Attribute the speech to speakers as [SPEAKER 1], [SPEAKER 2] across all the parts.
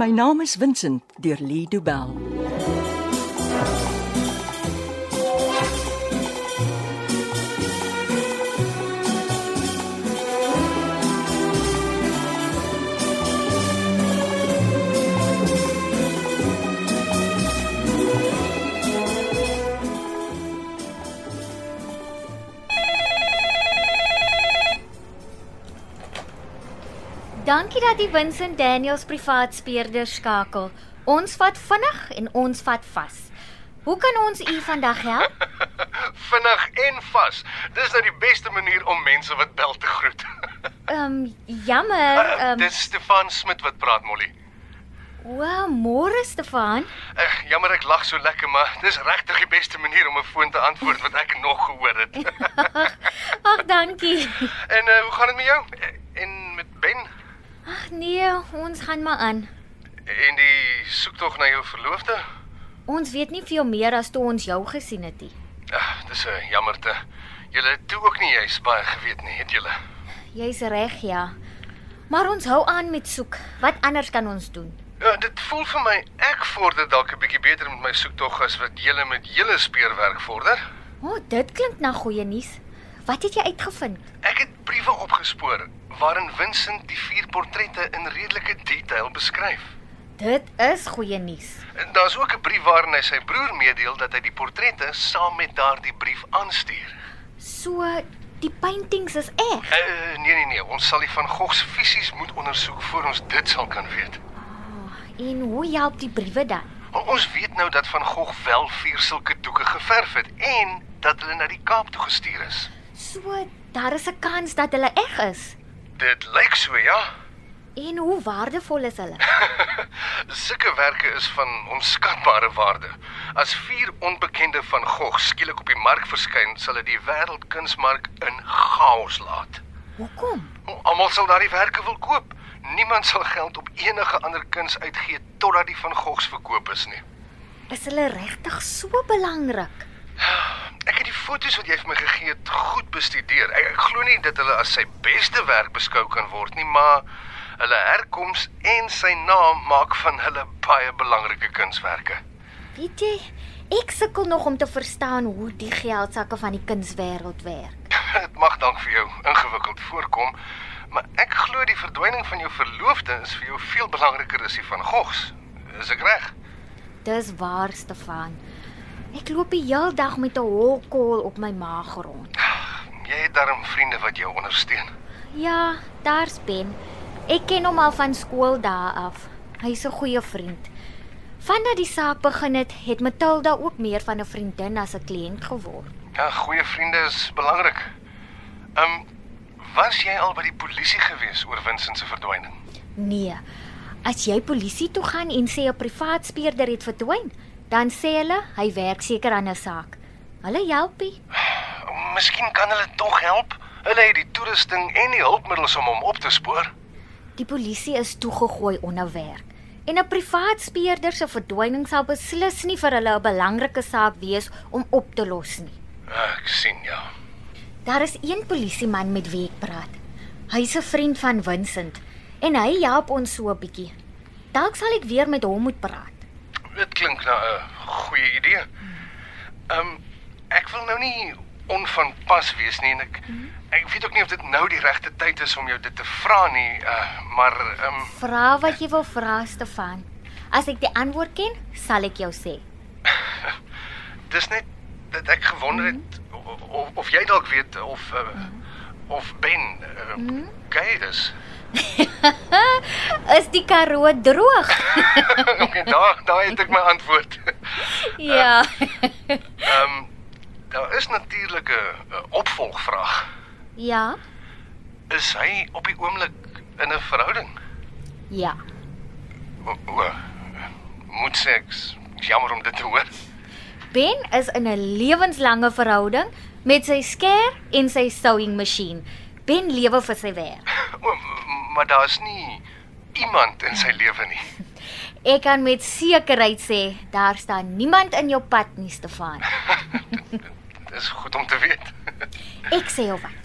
[SPEAKER 1] My naam is Vincent deur Lee Du Bell.
[SPEAKER 2] Dankie dat jy Vincent Daniels privaat speurder skakel. Ons vat vinnig en ons vat vas. Hoe kan ons u vandag help?
[SPEAKER 3] Vinnig en vas. Dis nou die beste manier om mense wat bel te groet.
[SPEAKER 2] Ehm jammer, ehm um,
[SPEAKER 3] Ah, Dis Stefan Smit wat praat, Molly.
[SPEAKER 2] wow, môre Stefan.
[SPEAKER 3] Ag, jammer ek lag so lekker, maar dis regtig die beste manier om 'n foon te antwoord wat ek nog gehoor het.
[SPEAKER 2] Ag, dankie.
[SPEAKER 3] en uh, hoe gaan dit met jou? En met Ben?
[SPEAKER 2] Ag nee, ons gaan maar aan.
[SPEAKER 3] En die soektog na jou verloofde?
[SPEAKER 2] Ons weet nie veel meer as toe ons jou gesien het nie.
[SPEAKER 3] Ag, dis 'n jammerte. Julle het toe ook nie juis baie geweet nie, het julle?
[SPEAKER 2] Jy's reg, ja. Maar ons hou aan met soek. Wat anders kan ons doen?
[SPEAKER 3] Ja, dit voel vir my ek vorder dalk 'n bietjie beter met my soektog as wat julle met julle speurwerk vorder.
[SPEAKER 2] O, oh, dit klink na goeie nuus. Wat het jy uitgevind?
[SPEAKER 3] Ek het briewe opgespoor waarin Vincent die vier portrette in redelike detail beskryf.
[SPEAKER 2] Dit is goeie nuus.
[SPEAKER 3] En daar's ook 'n brief waarin hy sy broer meedeel dat hy die portrette saam met daardie brief aanstuur.
[SPEAKER 2] So, die paintings is eg.
[SPEAKER 3] Uh, nee nee nee, ons sal die van Gogh se fisies moet ondersoek voor ons dit sal kan weet.
[SPEAKER 2] Ah, En hoe help die briewe dan?
[SPEAKER 3] O- Ons weet nou dat van Gogh wel vier sulke doeke geverf het en dat hulle na die Kaap toe gestuur is.
[SPEAKER 2] So, daar is 'n kans dat hulle eg is.
[SPEAKER 3] Dit lyk so ja.
[SPEAKER 2] En hoe waardevol is hulle?
[SPEAKER 3] Sulke werke is van onskatbare waarde. As vier onbekende van Gogh skielik op die mark verskyn, sal dit die wêreldkunsmark in chaos laat. Nou,
[SPEAKER 2] Hoekom?
[SPEAKER 3] Almal sal daardie werke wil koop. Niemand sal geld op enige ander kuns uitgee totdat die van Goghs verkoop is nie.
[SPEAKER 2] Is hulle regtig so belangrik?
[SPEAKER 3] Ek het die foto's wat jy vir my gegee het goed bestudeer. Ek, ek glo nie dat hulle as sy beste werk beskou kan word nie, maar hulle herkoms en sy naam maak van hulle baie belangrike kunswerke.
[SPEAKER 2] Weet jy, ek sukkel nog om te verstaan hoe die geldsakke van die kunswêreld werk.
[SPEAKER 3] Dit mag dank vir jou ingewikkeld voorkom, maar ek glo die verdwyning van jou verloofde is vir jou veel belangriker as die van Gogs. Is ek reg?
[SPEAKER 2] Dis waar, Stefan. Ek loop die heel dag met 'n hol kool op my maag rond.
[SPEAKER 3] Jy het darm vriende wat jou ondersteun.
[SPEAKER 2] Ja, daar's Ben. Ek ken hom al van skooldae af. Hy's 'n goeie vriend. Vandat die saak begin het, het Matilda ook meer van 'n vriendin as 'n kliënt geword.
[SPEAKER 3] Ja, goeie vriende is belangrik. Ehm um, was jy al by die polisie gewees oor Vincent se verdwyning?
[SPEAKER 2] Nee. As jy polisie toe gaan en sê 'n privaat speurder het verdwyn, dan sê hulle hy werk seker aan 'n saak. Hulle helpie.
[SPEAKER 3] Ehm, Miskien kan hulle tog help. Hulle het die toerusting en die hulpmiddels om hom op te spoor.
[SPEAKER 2] Die polisie is toegegooi onder werk. En 'n privaat speurder se verdwyning sal beslis nie vir hulle 'n belangrike saak wees om op te los nie.
[SPEAKER 3] Ek sien ja.
[SPEAKER 2] Daar is een polisieman met wie ek praat. Hy's 'n vriend van Vincent en hy help ons so 'n bietjie. Dalk sal ek weer met hom moet praat.
[SPEAKER 3] Dit klink na 'n goeie idee. Ehm um, ek wil nou nie onvanpas wees nie en ek ek weet ook nie of dit nou die regte tyd is om jou dit te vra nie, uh, maar ehm um,
[SPEAKER 2] Vra wat jy wil vra, Stefan. As ek die antwoord ken, sal ek jou sê.
[SPEAKER 3] dis net dat ek gewonder het of, of jy dalk weet of uh, of Ben uh, gay is.
[SPEAKER 2] Is die karoo droog?
[SPEAKER 3] okay, daar daar het ek my antwoord.
[SPEAKER 2] ja.
[SPEAKER 3] Ehm daar is natuurlik 'n 'n opvolgvraag.
[SPEAKER 2] ja.
[SPEAKER 3] Is hy op die oomblik in 'n verhouding?
[SPEAKER 2] Ja.
[SPEAKER 3] O, o, moet sê ek is jammer om dit te hoor.
[SPEAKER 2] Ben is in 'n lewenslange verhouding met sy skêr en sy sewing masjien. Ben lewe vir sy werk.
[SPEAKER 3] O, maar daar's nie iemand in sy lewe nie.
[SPEAKER 2] Ek kan met sekerheid sê daar staan niemand in jou pad nie, Stefan.
[SPEAKER 3] Dis goed om te weet.
[SPEAKER 2] Ek sê jou wat.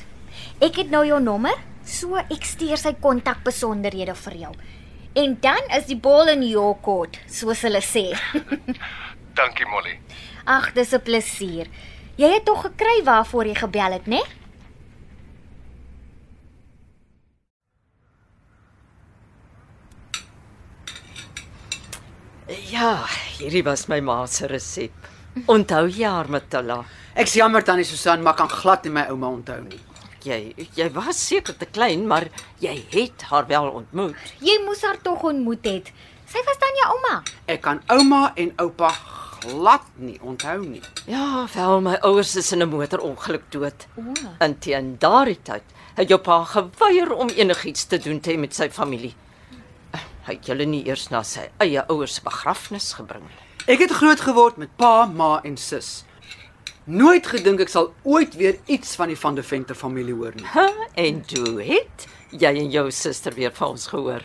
[SPEAKER 2] Ek het nou jou nommer, so ek stuur sy kontakbesonderhede vir jou. En dan is die bal in jou court, soos hulle sê.
[SPEAKER 3] Dankie Molly.
[SPEAKER 2] Ag, dis 'n plesier. Jy het tog gekry waarvoor jy gebel het, né?
[SPEAKER 4] Ja, hierdie was my ma se resep. Onthou jy haar Matilla?
[SPEAKER 5] Ek's jammer tannie Susan, maar kan glad nie my ouma onthou nie.
[SPEAKER 4] Jy jy was seker te klein, maar jy het haar wel ontmoet.
[SPEAKER 2] Jy moes haar tog ontmoet het. Sy was dan jou ouma.
[SPEAKER 5] Ek kan ouma en oupa glad nie onthou nie.
[SPEAKER 4] Ja, wel my ouers is in 'n motorongeluk dood. Inteen daardie tyd het jou pa geweier om enigiets te doen te hê met sy familie. Hy het julle nie eers na sy eie ouers se begrafnis gebring nie.
[SPEAKER 5] Ek het groot geword met pa, ma en sis. Nooit gedink ek sal ooit weer iets van die Van der Venter familie hoor nie.
[SPEAKER 4] Ha, en toe het jy en jou suster weer van ons gehoor.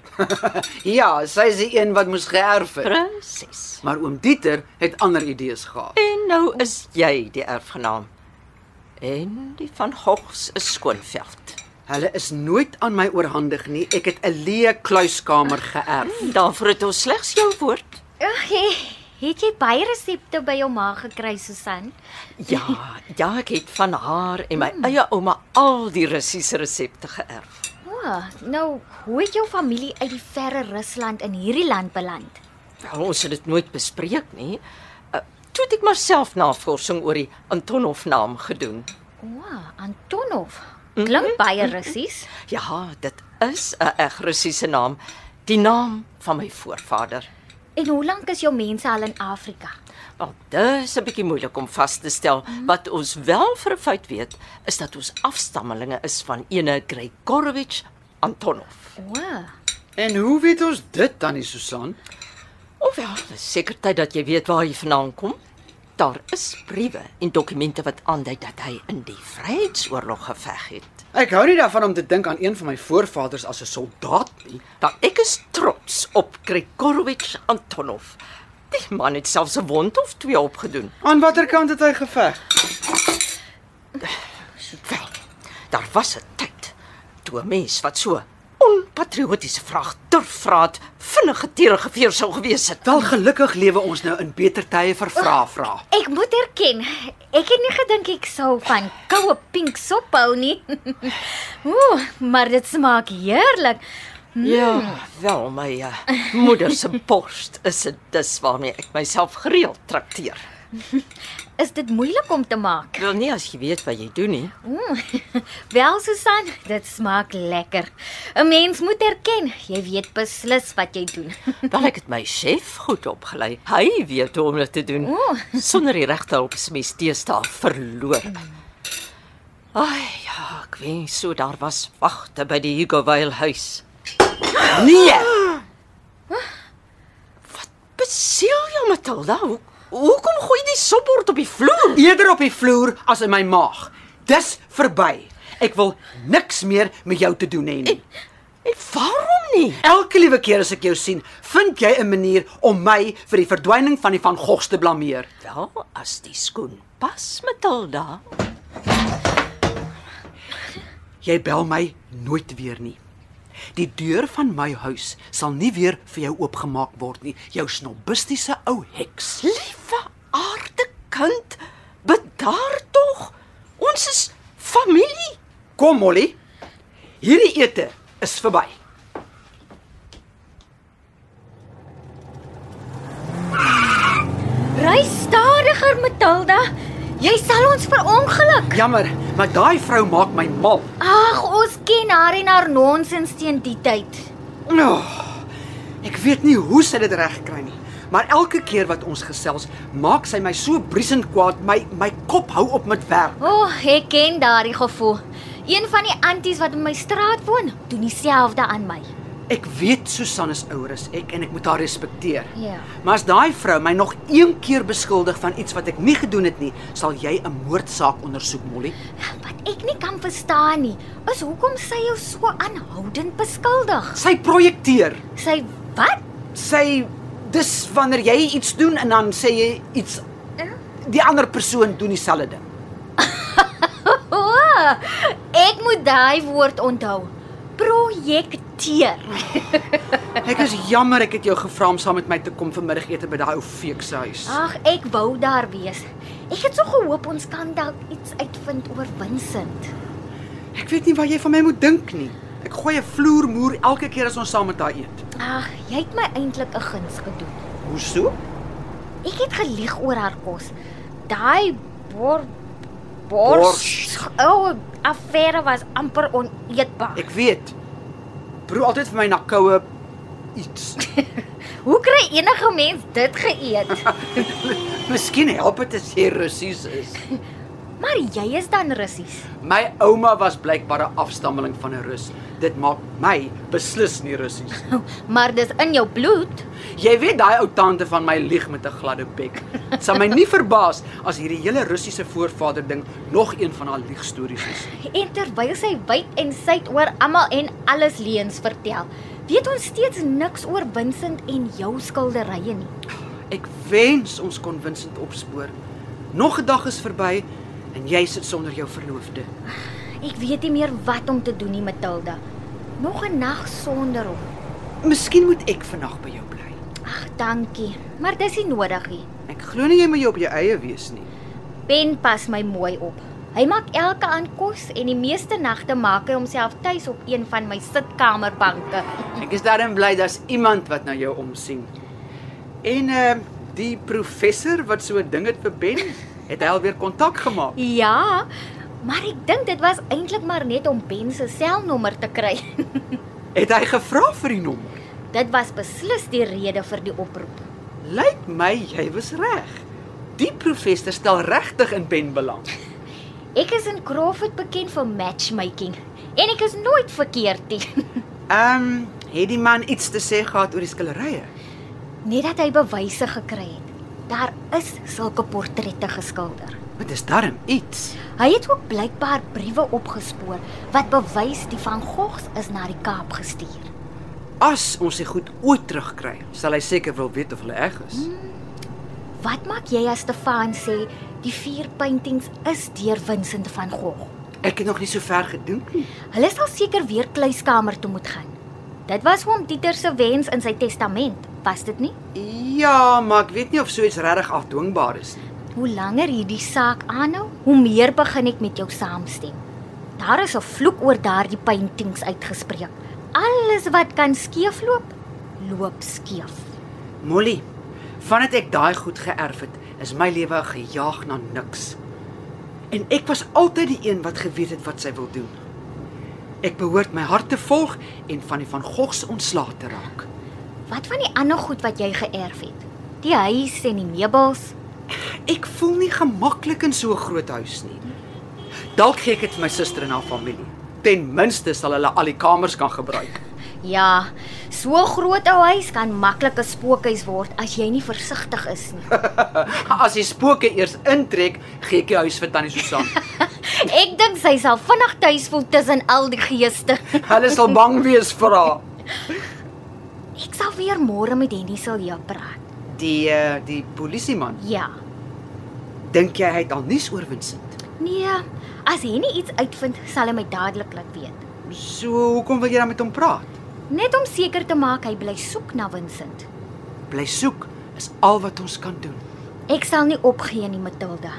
[SPEAKER 5] Ja, sy is die een wat moes geërf het.
[SPEAKER 4] Presies.
[SPEAKER 5] Maar oom Dieter het ander idees gehad.
[SPEAKER 4] En nou is jy die erfgenaam. En die van Hogs is Skoonveld.
[SPEAKER 5] Hulle is nooit aan my oorhandig nie. Ek het 'n leë kluiskamer geërf.
[SPEAKER 4] Daarvoor het ons slegs jou woord.
[SPEAKER 2] Ag, he- het jy baie resepte by jou ma gekry, Susan?
[SPEAKER 4] Ja, ja, ek het van haar en my eie ouma al die Russiese resepte geërf.
[SPEAKER 2] O, nou, hoe het jou familie uit die verre Rusland in hierdie land beland?
[SPEAKER 4] Wel, ons het dit nooit bespreek nie. Uh, toe het ek maar self navorsing oor die Antonov naam gedoen.
[SPEAKER 2] O, Antonov. Klink baie Russies.
[SPEAKER 4] Ja, dit is 'n eg Russiese naam, die naam van my voorvader.
[SPEAKER 2] En hoe lank is jou mense al in Afrika?
[SPEAKER 4] Wel, dis 'n bietjie moeilik om vas te stel. Wat ons wel vir 'n feit weet, is dat ons afstammelinge is van ene Gregorovich Antonov.
[SPEAKER 2] O,
[SPEAKER 5] En hoe weet ons dit tannie Susan?
[SPEAKER 4] Ofwel, dis ja, seker tyd dat jy weet waar hy vandaan kom. Daar is briewe en dokumente wat aandui dat hy in die Vryheidsoorlog geveg het.
[SPEAKER 5] Ek hou nie daarvan om te dink aan een van my voorvaders as 'n soldaat nie.
[SPEAKER 4] Dan ek is trots op Gregorovich Antonov. Die man het selfs 'n wond of twee opgedoen.
[SPEAKER 5] Aan watter kant het hy geveg?
[SPEAKER 4] Wel, daar was 'n tyd toe 'n mens wat so onpatriotiese vraag durf vra het, vinnige tiere geveer sou gewees het.
[SPEAKER 5] Wel gelukkig lewe ons nou in beter tye vir vra vra.
[SPEAKER 2] ek moet erken, ek het nie gedink ek sou van koue pink sop hou nie. Ooh, maar dit smaak heerlik.
[SPEAKER 4] Ja, wel my uh, moeder se borst is dit dis waarmee ek myself gereeld trakteer.
[SPEAKER 2] Is dit moeilik om te maak?
[SPEAKER 4] Ek wil nie as jy weet wat jy doen nie.
[SPEAKER 2] Ooh. Wel Susan, dit smaak lekker. 'n Mens moet erken, jy weet beslis wat jy doen.
[SPEAKER 4] Wel ek het my chef goed opgelei. Hy weet hoe om dit te doen.
[SPEAKER 2] Ooh.
[SPEAKER 4] Sonder die regte hulp is mens teestaal verloor. Ai ja, ek wens so daar was wagte by die Hugo Weil huis.
[SPEAKER 5] Nee,
[SPEAKER 4] Besiel jou Matilda, hoe, hoekom gooi jy die sopbord op die vloer?
[SPEAKER 5] eerder op die vloer as in my maag. Dis verby. Ek wil niks meer met jou te doen hê nie.
[SPEAKER 4] En waarom nie?
[SPEAKER 5] Elke liewe keer as ek jou sien, vind jy 'n manier om my vir die verdwyning van die Van Goghs te blameer.
[SPEAKER 4] Wel, as die skoen pas Matilda.
[SPEAKER 5] Jy bel my nooit weer nie. Die deur van my huis sal nie weer vir jou oopgemaak word nie, jou snobistiese ou heks.
[SPEAKER 4] Liewe aarde kind, bedaar tog. Ons is familie.
[SPEAKER 5] Kom Molly. Hierdie ete is verby.
[SPEAKER 2] Ry stadiger, Matilda. Jy sal ons verongeluk.
[SPEAKER 5] Jammer, maar daai vrou maak my mal.
[SPEAKER 2] Ag, ons ken haar en haar nonsens teen die tyd.
[SPEAKER 5] Oh, ek weet nie hoe sy dit reg kry nie, maar elke keer wat ons gesels, maak sy my so briesend kwaad, my my kop hou op met werk.
[SPEAKER 2] O, oh, ek ken daardie gevoel. Een van die anties wat in my straat woon, doen dieselfde aan my.
[SPEAKER 5] Ek weet Susan is ouer as ek en ek moet haar respekteer.
[SPEAKER 2] Ja.
[SPEAKER 5] Maar as daai vrou my nog een keer beskuldig van iets wat ek nie gedoen het nie, sal jy 'n moordsaak ondersoek, Molly.
[SPEAKER 2] Wat ek nie kan verstaan nie, is hoekom sy jou so aanhoudend beskuldig.
[SPEAKER 5] Sy projekteer.
[SPEAKER 2] Sy wat?
[SPEAKER 5] Sy dis wanneer jy iets doen en dan sê jy iets die ander persoon doen dieselfde ding.
[SPEAKER 2] O, ek moet daai woord onthou. Projekteer.
[SPEAKER 5] Ek is jammer ek het jou gevra om saam met my te kom vanmiddagete by daai ou feek se huis.
[SPEAKER 2] Ag, ek wou daar wees. Ek het so gehoop ons kan dalk iets uitvind oor Vincent.
[SPEAKER 5] Ek weet nie wat jy van my moet dink nie. Ek gooi 'n vloermoer elke keer as ons saam met daai eet.
[SPEAKER 2] Ag, jy het my eintlik 'n guns gedoen.
[SPEAKER 5] Hoe so?
[SPEAKER 2] Ek het gelieg oor haar kos. Daai bor
[SPEAKER 5] Bors.
[SPEAKER 2] bors ou affære was amper oneetbaar.
[SPEAKER 5] Ek weet. Proe altyd vir my na koue iets.
[SPEAKER 2] Hoe kry enige mens dit geëet?
[SPEAKER 5] Miskien help dit as jy Russies is.
[SPEAKER 2] maar jy is dan russies.
[SPEAKER 5] My ouma was blykbaar 'n afstammeling van 'n Rus. Dit maak my beslis nie Russies nie.
[SPEAKER 2] Maar dis in jou bloed.
[SPEAKER 5] Jy weet daai ou tante van my lieg met 'n gladde bek. Dit sal my nie verbaas as hierdie hele Russiese voorvader ding nog een van haar liegstories is.
[SPEAKER 2] En terwyl sy wyd en suid oor almal en alles leuns vertel, weet ons steeds niks oor Vincent en jou skilderye nie.
[SPEAKER 5] Ek wens ons kon Vincent opspoor. Nog 'n dag is verby en jy sit sonder jou verloofde.
[SPEAKER 2] Ek weet nie meer wat om te doen nie, Matilda. Nog 'n nag sonder hom.
[SPEAKER 5] Miskien moet ek vandag by jou bly.
[SPEAKER 2] Ag, dankie, maar dis nie nodig nie.
[SPEAKER 5] Ek glo nie jy moet jou op jou eie wees nie.
[SPEAKER 2] Ben pas my mooi op. Hy maak elke aand kos en die meeste nagte maak hy homself tuis op een van my sitkamerbanke.
[SPEAKER 5] Ek is daarin bly daar's iemand wat na jou omsien. En ehm uh, die professor wat so 'n ding het vir Ben, het hy alweer kontak gemaak.
[SPEAKER 2] Ja, maar ek dink dit was eintlik maar net om Ben se selnommer te kry.
[SPEAKER 5] Het hy gevra vir die nommer?
[SPEAKER 2] dit was beslis die rede vir die oproep.
[SPEAKER 5] Lyk my jy was reg. Die professor stel regtig in Ben belang.
[SPEAKER 2] Ek is in Crawford bekend vir matchmaking en ek is nooit verkeerd nie.
[SPEAKER 5] Ehm, um, het die man iets te sê gehad oor die skilderye?
[SPEAKER 2] net dat hy bewyse gekry het. Daar is sulke portrette geskilder.
[SPEAKER 5] Want dis darm iets.
[SPEAKER 2] Hy het ook blykbaar briewe opgespoor wat bewys die van Goghs is na die Kaap gestuur.
[SPEAKER 5] As ons dit goed ooit terugkry, sal hy seker wil weet of hulle reg is.
[SPEAKER 2] Wat maak jy as Stefan sê die vier paintings is deur Vincent van Gogh?
[SPEAKER 5] Ek het nog nie so ver gedink nie.
[SPEAKER 2] Hulle sal seker weer kluiskamer toe moet gaan. Dit was oom Dieter se wens in sy testament, was dit nie?
[SPEAKER 5] Ja, maar ek weet nie of so iets regtig afdwingbaar is nie.
[SPEAKER 2] Hoe langer hierdie saak aanhou, hoe meer begin ek met jou saamstem. Daar is 'n vloek oor daardie paintings uitgespreek. Alles wat kan skeefloop, loop skeef.
[SPEAKER 5] Molly, vandat ek daai goed geërf het, is my lewe gejaag na niks. En ek was altyd die een wat geweet het wat sy wil doen. Ek behoort my hart te volg en van die van Gogh se ontslae te raak.
[SPEAKER 2] Wat van die ander goed wat jy geërf het? Die huis en die meubels?
[SPEAKER 5] Ek voel nie gemaklik in so 'n groot huis nie. Dalk gee ek dit vir my suster en haar familie. Ten minste sal hulle al die kamers kan gebruik.
[SPEAKER 2] Ja, so groot ou huis kan maklik 'n spookhuis word as jy nie versigtig is nie.
[SPEAKER 5] As die spooke eers intrek, gee ek die huis vir tannie Susan.
[SPEAKER 2] Ek dink sy sal vinnig tuis voel tussen al die geeste.
[SPEAKER 5] Hulle sal bang wees vir haar.
[SPEAKER 2] Ek sal weer môre met Henny Silje praat.
[SPEAKER 5] Die eh, die polisieman,
[SPEAKER 2] Ja.
[SPEAKER 5] dink jy hy het al nuus oor Vincent?
[SPEAKER 2] Nee, as Henny iets uitvind, sal hy my dadelik laat weet.
[SPEAKER 5] So hoekom wil jy dan met hom praat?
[SPEAKER 2] Net om seker te maak hy bly soek na Vincent.
[SPEAKER 5] Bly soek is al wat ons kan doen.
[SPEAKER 2] Ek sal nie opgee nie, Matilda.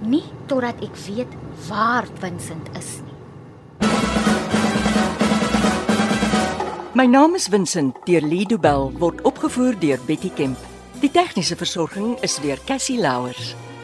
[SPEAKER 2] Nie totdat ek weet waar Vincent is nie.
[SPEAKER 1] My naam is Vincent deur Lido Bell word opgevoer deur Betty Kemp. Die tegniese versorging is deur Cassie Louers.